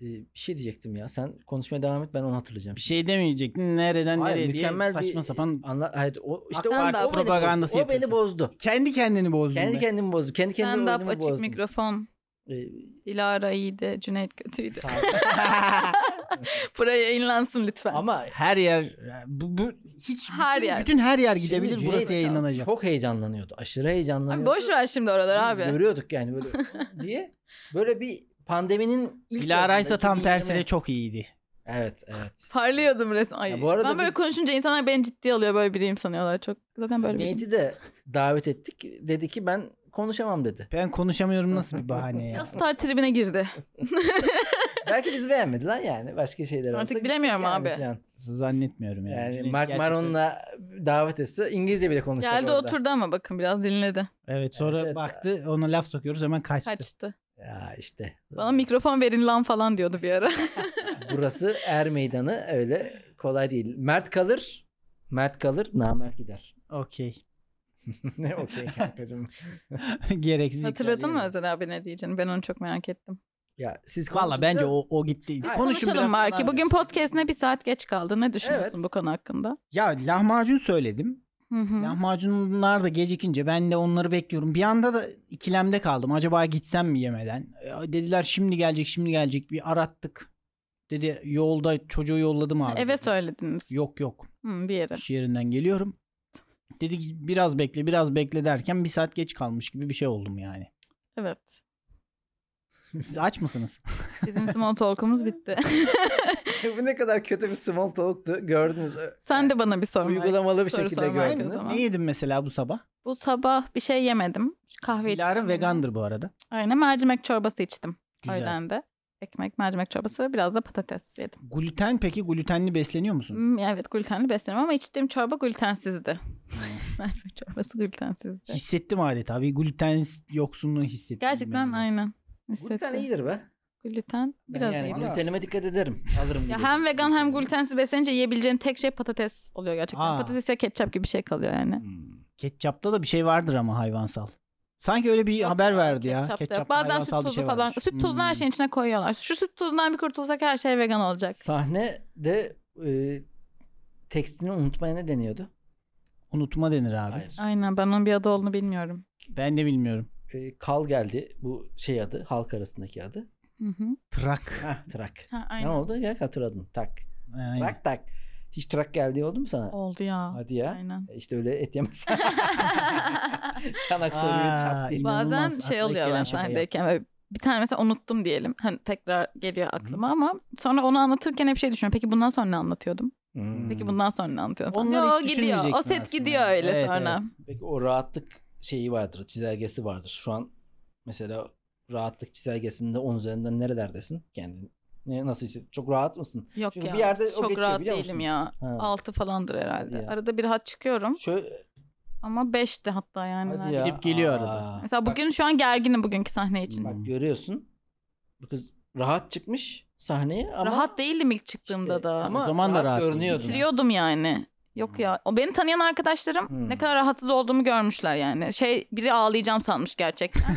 A: Ee, bir şey diyecektim ya. Sen konuşmaya devam et ben onu hatırlayacağım.
B: Bir şey demeyecektin nereden
A: Hayır,
B: nereye diye
A: mükemmel
B: saçma
A: bir-
B: sapan
A: Anla, hayır, o, işte o, o,
C: Stand-up.
A: beni
B: Propagandası
A: bozdu. o beni
B: yapıyorsun.
A: bozdu.
B: kendi kendini bozdun.
A: Kendi
B: Kendi
A: kendimi bozdu. Kendi kendimi
C: Stand up
A: oyunumu
C: açık
A: bozdum.
C: mikrofon.
A: Ee,
C: Dilara iyiydi, Cüneyt kötüydü.
A: sağ-
C: Buraya yayınlansın lütfen.
A: Ama
B: her yer bu, bu hiç
C: Her
B: bütün,
C: yer.
B: bütün her yer
A: Şimdi
B: gidebilir
A: Cüneyt
B: burası yayınlanacak.
A: Çok heyecanlanıyordu. Aşırı
C: Abi
A: heyecanlanıyordu.
C: boş ver şimdi oraları
A: Biz
C: abi.
A: Görüyorduk yani böyle diye. Böyle bir pandeminin ilk
B: Dilara ise
A: yazında,
B: tam
A: 2020.
B: tersine çok iyiydi.
A: Evet evet.
C: Parlıyordum resmen. Ay,
A: Ya bu arada
C: ben böyle
A: biz-
C: konuşunca insanlar beni ciddi alıyor böyle biriyim sanıyorlar. Çok zaten böyle biriyim.
A: Cüneyt'i de davet ettik. Dedi ki ben konuşamam dedi.
B: Ben konuşamıyorum nasıl bir bahane ya.
C: Ya star tribine girdi.
A: Belki bizi beğenmedi lan yani. Başka şeyler
C: Artık
A: olsa
C: bilemiyorum
A: gidecek
C: abi.
A: şu an.
B: Zannetmiyorum yani.
A: Yani
B: Cüneyt
A: Mark
B: gerçekten-
A: Maron'la davet etse İngilizce bile konuşacak
C: Geldi
A: orada.
C: oturdu ama bakın biraz dinledi.
B: Evet sonra
A: Evet, evet.
B: baktı ona laf sokuyoruz hemen kaçtı.
C: Kaçtı.
A: Ya işte.
C: Bana mikrofon verin lan falan diyordu bir ara.
A: Burası er meydanı öyle kolay değil. Mert kalır. Mert kalır. Namert gider.
B: Okey.
A: ne okey kankacığım.
B: Gereksiz.
C: Hatırladın
B: hikaye
C: mı
B: yani.
C: Özer abi ne diyeceğini? Ben onu çok merak ettim.
A: Ya siz
B: Valla
A: konuşun
B: bence
A: biraz.
B: o, o gitti.
A: Hayır,
B: Konuşun
C: Konuşalım
B: biraz.
C: Marki.
B: falan.
C: Bugün podcastine bir saat geç kaldı. Ne düşünüyorsun
A: Evet.
C: bu konu hakkında?
B: Ya lahmacun söyledim.
C: Hı hı.
B: Lahmacunlar da gecikince ben de onları bekliyorum. Bir anda da ikilemde kaldım. Acaba gitsem mi yemeden? E, dediler şimdi gelecek şimdi gelecek. Bir arattık. Dedi yolda çocuğu yolladım abi.
C: Eve
B: dedi.
C: söylediniz.
B: Yok yok.
C: Hı, bir yere.
B: İş yerinden geliyorum. Dedi ki biraz bekle biraz bekle derken bir saat geç kalmış gibi bir şey oldum yani.
C: Evet.
B: Siz aç mısınız?
C: Bizim small talk'umuz bitti.
A: Bu ne kadar kötü bir small talk'tu. Gördünüz.
C: Sen de bana bir sorun var.
A: Uygulamalı bir
C: Soru
A: şekilde
C: sorma aynı
A: gördünüz.
C: zaman.
B: Ne yedin mesela bu sabah?
C: Bu sabah bir şey yemedim. Kahve içtim.
B: Dilara vegandır bu arada.
C: Aynen mercimek çorbası içtim.
B: Güzel.
C: Öğlen de. Ekmek, mercimek çorbası biraz da patates yedim.
B: Gluten peki glutenli besleniyor musun?
C: Hmm, evet glutenli besleniyorum ama içtiğim çorba glutensizdi. Mercimek çorbası glutensizdi.
B: Hissettim adeta bir gluten yoksunluğu hissettim.
C: Gerçekten
B: ben.
C: aynen.
A: Bu lütfen
C: Hissettim.
A: iyidir be.
C: Gluten biraz
A: yani
C: iyi.
B: yedim.
A: glutenime dikkat ederim. Alırım
C: Ya
A: gibi.
C: hem vegan hem glutensiz beslenince yiyebileceğin tek şey patates oluyor gerçekten.
B: Aa.
C: Patates ya ketçap gibi bir şey kalıyor yani.
A: Hmm.
B: Ketçapta da bir şey vardır ama hayvansal. Sanki öyle bir
C: Yok
B: haber verdi ya.
C: Ketçap da yok.
B: Ketçapta
C: Bazen süt
B: hayvansal bir
C: tozu
B: şey
C: falan.
B: varmış.
C: Süt tozunu her şey-
B: Hmm.
C: şeyin içine koyuyorlar. Şu süt tozundan bir kurtulsak her şey vegan olacak.
A: Sahne de e, tekstini unutmaya ne deniyordu?
B: Unutma denir abi.
A: Hayır.
C: Aynen ben onun bir adı olduğunu bilmiyorum.
B: Ben de bilmiyorum.
A: E, kal geldi bu şey adı halk arasındaki adı.
C: Hı hı.
B: Trak.
A: Hah trak.
C: Ha,
A: Ne
C: aynen.
A: oldu? Ya hatırladın. Tak.
B: Aynen.
A: Trak tak. Hiç trak geldi oldu mu sana?
C: Oldu ya.
A: Hadi ya.
C: Aynen.
A: E, İşte öyle et yemez. Çanak sarıyor
B: Aa,
A: çat diye.
B: İnanılmaz.
C: Bazen şey
B: Akla ilk
C: oluyor
B: gelen
C: ben
B: şaka yap.
C: sahnedeyken böyle bir tane mesela unuttum diyelim. Hani tekrar geliyor aklıma ama sonra onu anlatırken hep şey düşünüyorum. Peki bundan sonra ne anlatıyordum?
A: Hmm.
C: Peki bundan sonra ne anlatıyordum? falan.
B: Onları
C: Yo,
B: hiç
C: gidiyor. O
B: düşünmeyeceksin
C: set
B: aslında.
C: gidiyor öyle
B: Evet,
C: sonra.
B: evet.
A: Peki o rahatlık şeyi vardır, çizelgesi vardır. Şu an mesela rahatlık çizelgesinde 10 üzerinden nerelerdesin kendini? Ne, nasıl hissediyorsun? Çok rahat mısın?
C: Yok
A: Çünkü
C: ya.
A: bir yerde o
C: çok
A: geçiyor,
C: rahat
A: biliyor
C: değilim
A: musun?
C: ya.
A: Ha.
C: Altı falandır herhalde.
A: Hadi ya.
C: Arada bir hat çıkıyorum
A: Şöyle
C: ama beşti hatta yani.
A: hadi
C: neredeyse.
A: ya.
B: Gidip geliyor
A: Aa.
B: arada.
C: Mesela bugün şu an gerginim bugünkü sahne için.
A: Bak
B: Hmm.
A: görüyorsun. Bu kız rahat çıkmış sahneye ama
C: Rahat değildim ilk çıktığımda
A: İşte,
C: da.
A: ama
B: O zaman da rahat değil.
A: görünüyordu.
C: Bitiriyordum yani. Yok ya. O beni tanıyan arkadaşlarım
A: Hmm.
C: ne kadar rahatsız olduğumu görmüşler yani. Şey biri ağlayacağım sanmış gerçekten.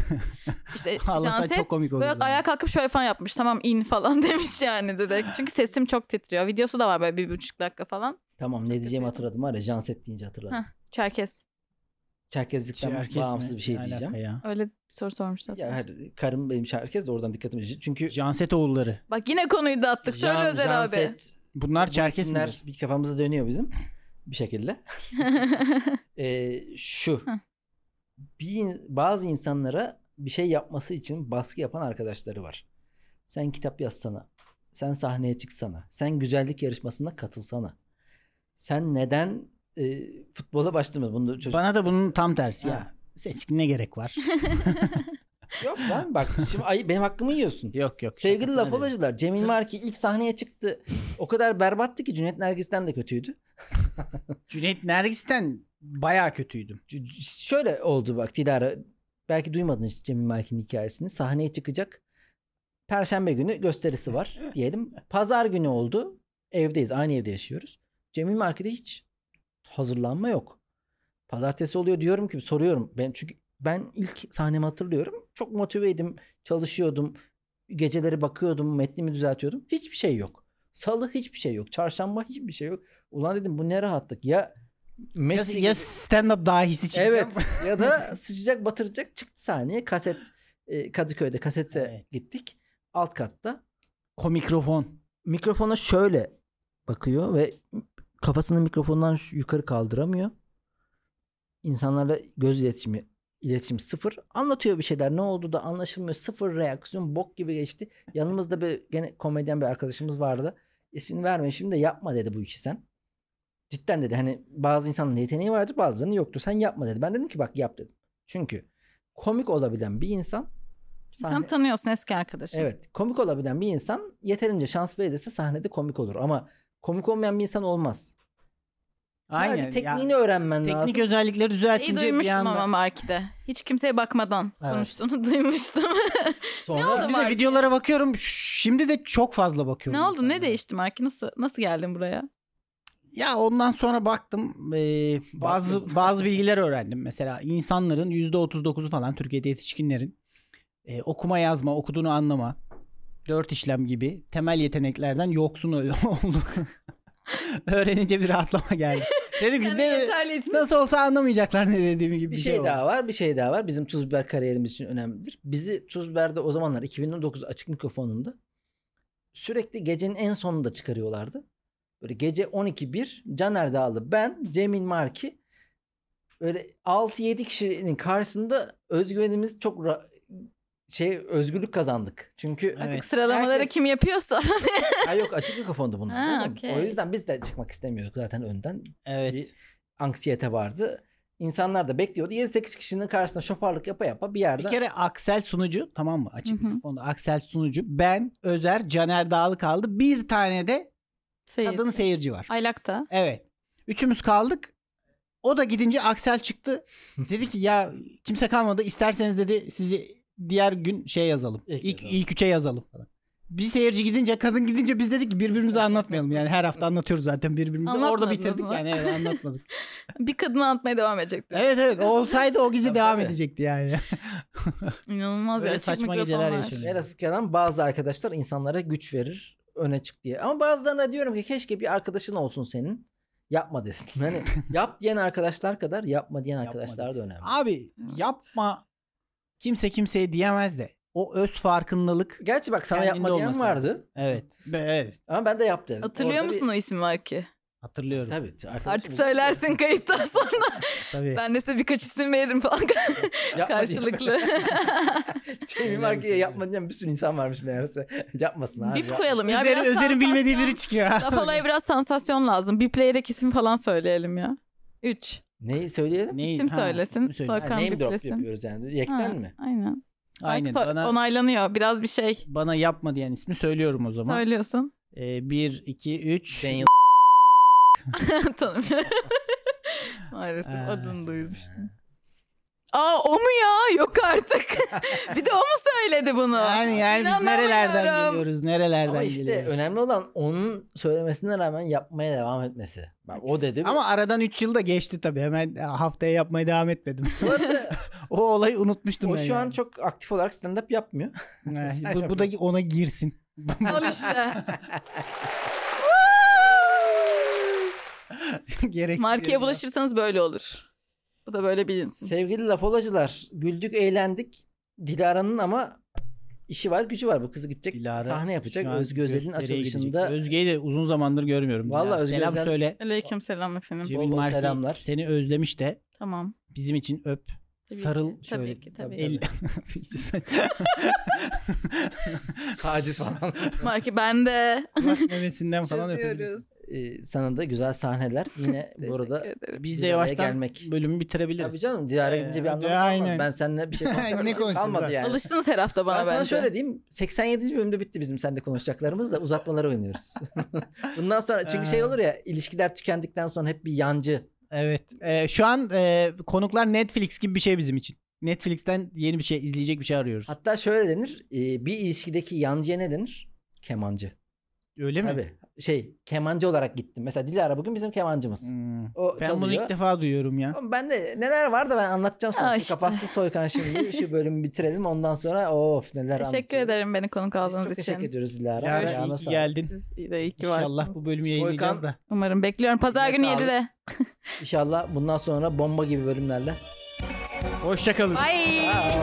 C: işte
B: Ağlasan
C: Janset
B: çok komik olur.
C: böyle
B: zaten.
C: ayağa kalkıp şöyle falan yapmış. Tamam in falan demiş yani direkt. Çünkü sesim çok titriyor. Videosu da var böyle bir buçuk dakika falan.
A: Tamam ne diyeceğimi
C: üzüldüm.
A: hatırladım var ya Janset deyince hatırladım.
C: Heh. Çerkes.
A: Çerkezlikten
B: Herkes mi?
A: bağımsız bir şey
B: Ne alaka
A: diyeceğim.
B: Ya.
C: Öyle bir soru sormuşlar.
A: Ya, her- karım benim Çerkez de oradan dikkatimi Çünkü
B: Janset oğulları.
C: Bak yine konuyu dağıttık. Söyle
A: Jan-
C: Özer abi.
A: Janset
B: Bunlar
A: Bu
B: Çerkes
A: isimler
B: midir?
A: bir kafamıza dönüyor bizim bir şekilde. Ee, şu.
C: Hı.
A: bir in- bazı insanlara bir şey yapması için baskı yapan arkadaşları var. Sen kitap yazsana. Sen sahneye çıksana. Sen güzellik yarışmasına katılsana. Sen neden e, futbola başlamadın? Bunu da çocuk...
B: Bana da bunun tam tersi
A: Ha.
B: ya. Seçkin ne gerek var?
A: Yok lan bak şimdi ay, benim hakkımı yiyorsun.
B: yok yok.
A: Sevgili
B: şakasına
A: laf
B: dedim.
A: olacılar. Cemil
B: Sırf-
A: Marki ilk sahneye çıktı. O kadar berbattı ki Cüneyt Nergis'ten de kötüydü.
B: Cüneyt Nergis'ten bayağı kötüydüm.
A: C- c- şöyle oldu bak Dilara belki duymadın hiç Cemil Markin'in hikayesini. Sahneye çıkacak. Perşembe günü gösterisi var diyelim. Pazar günü oldu. Evdeyiz. Aynı evde yaşıyoruz. Cemil Markin'de hiç hazırlanma yok. Pazartesi oluyor diyorum ki soruyorum. Ben çünkü ben ilk sahnemi hatırlıyorum. Çok motiveydim. Çalışıyordum. Geceleri bakıyordum. Metnimi düzeltiyordum. Hiçbir şey yok. Salı hiçbir şey yok. Çarşamba hiçbir şey yok. Ulan dedim bu ne rahatlık. Ya
B: Ya,
A: Messi
B: ya stand-up dahisi çıkacağım.
A: Evet ya da sıcak batıracak çıktı sahneye kaset e, Kadıköy'de kasete
B: Evet.
A: gittik alt katta
B: Komikrofon.
A: mikrofona şöyle bakıyor ve kafasını mikrofondan şu- yukarı kaldıramıyor. İnsanlarla göz iletişimi iletişim sıfır. Anlatıyor bir şeyler. Ne oldu da anlaşılmıyor. Sıfır reaksiyon. Bok gibi geçti. Yanımızda bir gene komedyen bir arkadaşımız vardı. İsmini vermeyeyim şimdi de yapma dedi bu işi sen. Cidden dedi hani bazı insanların yeteneği vardır bazılarının yoktur. Sen yapma dedi. Ben dedim ki bak yap dedim. Çünkü komik olabilen bir insan
C: Sen
A: sahne-
C: tanıyorsun eski arkadaşım.
A: Evet komik olabilen bir insan yeterince şans verilirse sahnede komik olur ama komik olmayan bir insan olmaz. Sadece
B: Aynen, ya
A: tekniğini öğrenmen lazım.
B: Teknik özellikleri
C: Şeyi
B: düzeltince bir
C: duymuştum
B: anda...
C: ama Marki'de. Hiç kimseye bakmadan
A: Evet.
C: konuştuğunu duymuştum.
A: Sonra
C: oldu?
B: Şimdi de
C: Marki.
B: videolara bakıyorum. Şimdi de çok fazla bakıyorum.
C: ne oldu? Ne
B: insanlara.
C: değişti Marki? Nasıl nasıl geldin buraya?
B: Ya ondan sonra baktım eee, bazı
A: Baktım.
B: bazı bilgiler öğrendim. Mesela insanların %39'u falan Türkiye'de yetişkinlerin eee, okuma yazma, okuduğunu anlama, dört işlem gibi temel yeteneklerden yoksun oldu. Öğrenince bir rahatlama geldi. Dedim ki
C: Yani
B: "Ne-
C: yeterli için."
B: nasıl olsa anlamayacaklar ne dediğimi gibi
A: bir şey daha var bir şey daha var. Bizim Tuz Biber kariyerimiz için önemlidir. Bizi Tuz Biber'de o zamanlar 2019 açık mikrofonunda sürekli gecenin en sonunda çıkarıyorlardı. Böyle gece 12-1 Caner Dağlı ben Cemil Marki böyle 6-7 kişinin karşısında özgüvenimiz çok ra- şey özgürlük kazandık. Çünkü
B: Evet.
C: Sıralamaları
A: Herkes-
C: kim yapıyorsa.
A: Ha yok açık mikrofondu bunlar.
C: Ha,
A: canım.
C: okey.
A: O yüzden biz de çıkmak istemiyorduk zaten önden.
B: Evet.
A: Bir anksiyete vardı. İnsanlar da bekliyordu. 7-8 kişinin karşısında şoparlık yapa yapa bir
B: Bir
A: yerde
B: kere Aksel sunucu tamam mı? Açık
C: Hı hı.
B: mikrofonda Aksel sunucu. Ben, Özer, Caner Dağlı kaldı. Bir tane de
C: Seyir.
B: kadın seyirci var.
C: Aylak'ta.
B: Evet. Üçümüz kaldık. O da gidince Aksel çıktı. Dedi ki ya kimse kalmadı. İsterseniz dedi sizi diğer gün şey yazalım.
A: İlk
B: İlk, ilk,
A: yazalım.
B: üçe yazalım falan. bir seyirci gidince kadın gidince biz dedik ki birbirimize anlatmayalım. Yani her hafta anlatıyoruz zaten birbirimize. Orada
C: Anlatmadınız
B: bitirdik
C: mı?
B: yani evet, anlatmadık.
C: Bir kadını anlatmaya devam edecekti.
B: evet evet o olsaydı o gece
A: Tabii,
B: devam
A: tabii.
B: edecekti yani.
C: İnanılmaz
B: Böyle
C: ya. açık
B: saçma
C: mikrofon
B: geceler
C: var.
B: yaşanıyor.
A: Velhasıl kelam bazı arkadaşlar insanlara güç verir öne çık diye. Ama bazılarına diyorum ki keşke bir arkadaşın olsun senin. Yapma desin. Hani yap diyen arkadaşlar kadar yapma diyen
B: Yapma
A: arkadaşlar da önemli.
B: Abi
C: Evet.
B: yapma kimse kimseye diyemez de o öz farkındalık.
A: Gerçi bak sana
B: Kendinde
A: yapma diyen
B: olması
A: vardı.
B: Evet. Be- evet.
A: Ama ben de yap dedim.
C: Hatırlıyor
A: Orada bir-
C: musun o ismi var ki?
B: Hatırlıyorum.
A: Tabii. arkadaşım-
C: Artık söylersin kayıttan sonra.
B: Tabii.
C: ben de size birkaç isim veririm falan
A: Yapma
C: karşılıklı.
A: diyen- Jamie Markey'e yapma diyen bir sürü insan varmış meğerse. Yapmasın abi.
C: Bip
A: yapma.
C: koyalım ya.
B: Özer'in,
C: biraz
B: Özer'in bilmediği
C: sansasyon-
B: biri çıkıyor. ha.
C: Laf olaya biraz sansasyon lazım. Bipleyerek isim falan söyleyelim ya. Üç.
A: Neyi söyleyelim?
B: Neyi?
C: İsim
B: Ha,
C: söylesin.
B: isim söyle.
A: Ha,
C: Sokan
A: name drop
C: biplesin.
A: yapıyoruz yani.
C: Ha,
A: Yekten mi?
C: Aynen.
B: Aynen.
C: Bak, so-
B: Bana,
C: Onaylanıyor. Biraz bir şey
B: bana yapma diyen ismi söylüyorum o zaman.
C: söylüyorsun.
B: Ee, 1, 2, 3.
A: Daniel.
C: Tanımıyorum. Maalesef
B: Ee.
C: adını duymuştum. Aa o mu ya? Yok artık. bir de o mu söyledi bunu?
B: Yani, yani biz
C: İnanamıyorum.
B: nerelerden geliyoruz? Nerelerden
A: Ama işte
B: geliyoruz?
A: önemli olan onun söylemesine rağmen yapmaya devam etmesi. Bak o dedi.
B: Ama aradan 3 yıl da geçti tabii. Hemen e, haftaya yapmaya devam etmedim.
A: bu arada
B: o olayı unutmuştum
A: o
B: ben.
A: şu an
B: yani.
A: çok aktif olarak stand-up yapmıyor.
B: Ha,
A: Sen
B: bu, bu da
A: yapıyorsun.
B: ona girsin.
C: Al işte.
B: Gerek.
C: Markaya bulaşırsanız böyle olur. Bu da böyle bilinsin.
A: Sevgili lafolacılar güldük eğlendik. Dilara'nın ama işi var gücü var. Bu kız gidecek
B: Dilara
A: sahne yapacak. Özgü Özel'in açılışında.
B: Özge'yi de uzun zamandır görmüyorum.
A: Vallahi
B: Biraz
A: Özge
B: Selam
A: Özel-
B: söyle.
C: Aleyküm selam efendim.
A: Bol
B: Cemil
A: bol
B: Marki
A: selamlar.
B: seni özlemiş de
C: Tamam.
B: bizim için öp.
C: Tabii
B: Sarıl
C: ki,
B: şöyle.
C: Tabii ki tabii.
B: El...
C: ki.
B: İşte sen-
A: Taciz falan.
C: Marki ben de.
B: Kulak memesinden falan öpelim.
C: Çözüyoruz.
A: Ee, sana da güzel sahneler. Yine bu
C: Teşekkür
A: arada
C: ederim.
B: Biz
A: Bir
B: de
A: araya
B: yavaştan
A: gelmek.
B: bölümü bitirebiliriz.
A: Tabii canım Dilara
B: Ee,
A: gidince bir anlamı
B: aynen.
A: kalmaz. Ben seninle bir şey konuşacağım.
B: Ne konuşacağız
A: Kalmadı
B: abi?
A: yani.
C: Alıştınız her hafta bana
A: ben sana
C: bence.
A: şöyle diyeyim. 87. bölümde bitti bizim seninle konuşacaklarımız da uzatmaları oynuyoruz. Bundan sonra çünkü
B: Ee.
A: şey olur ya ilişkiler tükendikten sonra hep bir yancı.
B: Evet. Ee, şu an e, konuklar Netflix gibi bir şey bizim için. Netflix'ten yeni bir şey izleyecek bir şey arıyoruz.
A: Hatta şöyle denir. e, Bir ilişkideki yancıya ne denir? Kemancı.
B: Öyle mi?
A: Tabii. Şey kemancı olarak gittim. Mesela Dilara bugün bizim kemancımız.
B: Hmm.
A: O
B: Ben
A: çalıyor.
B: bunu ilk defa duyuyorum ya.
A: Ama Ben de neler var da ben anlatacağım sana.
C: Aa
A: Şu
C: işte.
A: Kapatsın Soykan şimdi. Şu bölümü bitirelim. Ondan sonra of neler
C: Teşekkür
A: anlatıyoruz.
C: ederim beni konuk
A: Biz çok
C: aldığınız için.
A: teşekkür ediyoruz Dilara.
B: Yara
A: Ayağına
B: iyi ki
A: sağlık.
B: geldin.
C: Siz de iyi ki varsınız.
B: İnşallah bu bölümü yayınlayacağız da.
C: Umarım bekliyorum. Pazar
A: Eline
C: günü
A: sağlık.
C: 7'de.
A: İnşallah bundan sonra bomba gibi bölümlerle
B: Hoşçakalın.
C: Bye. Yaktı.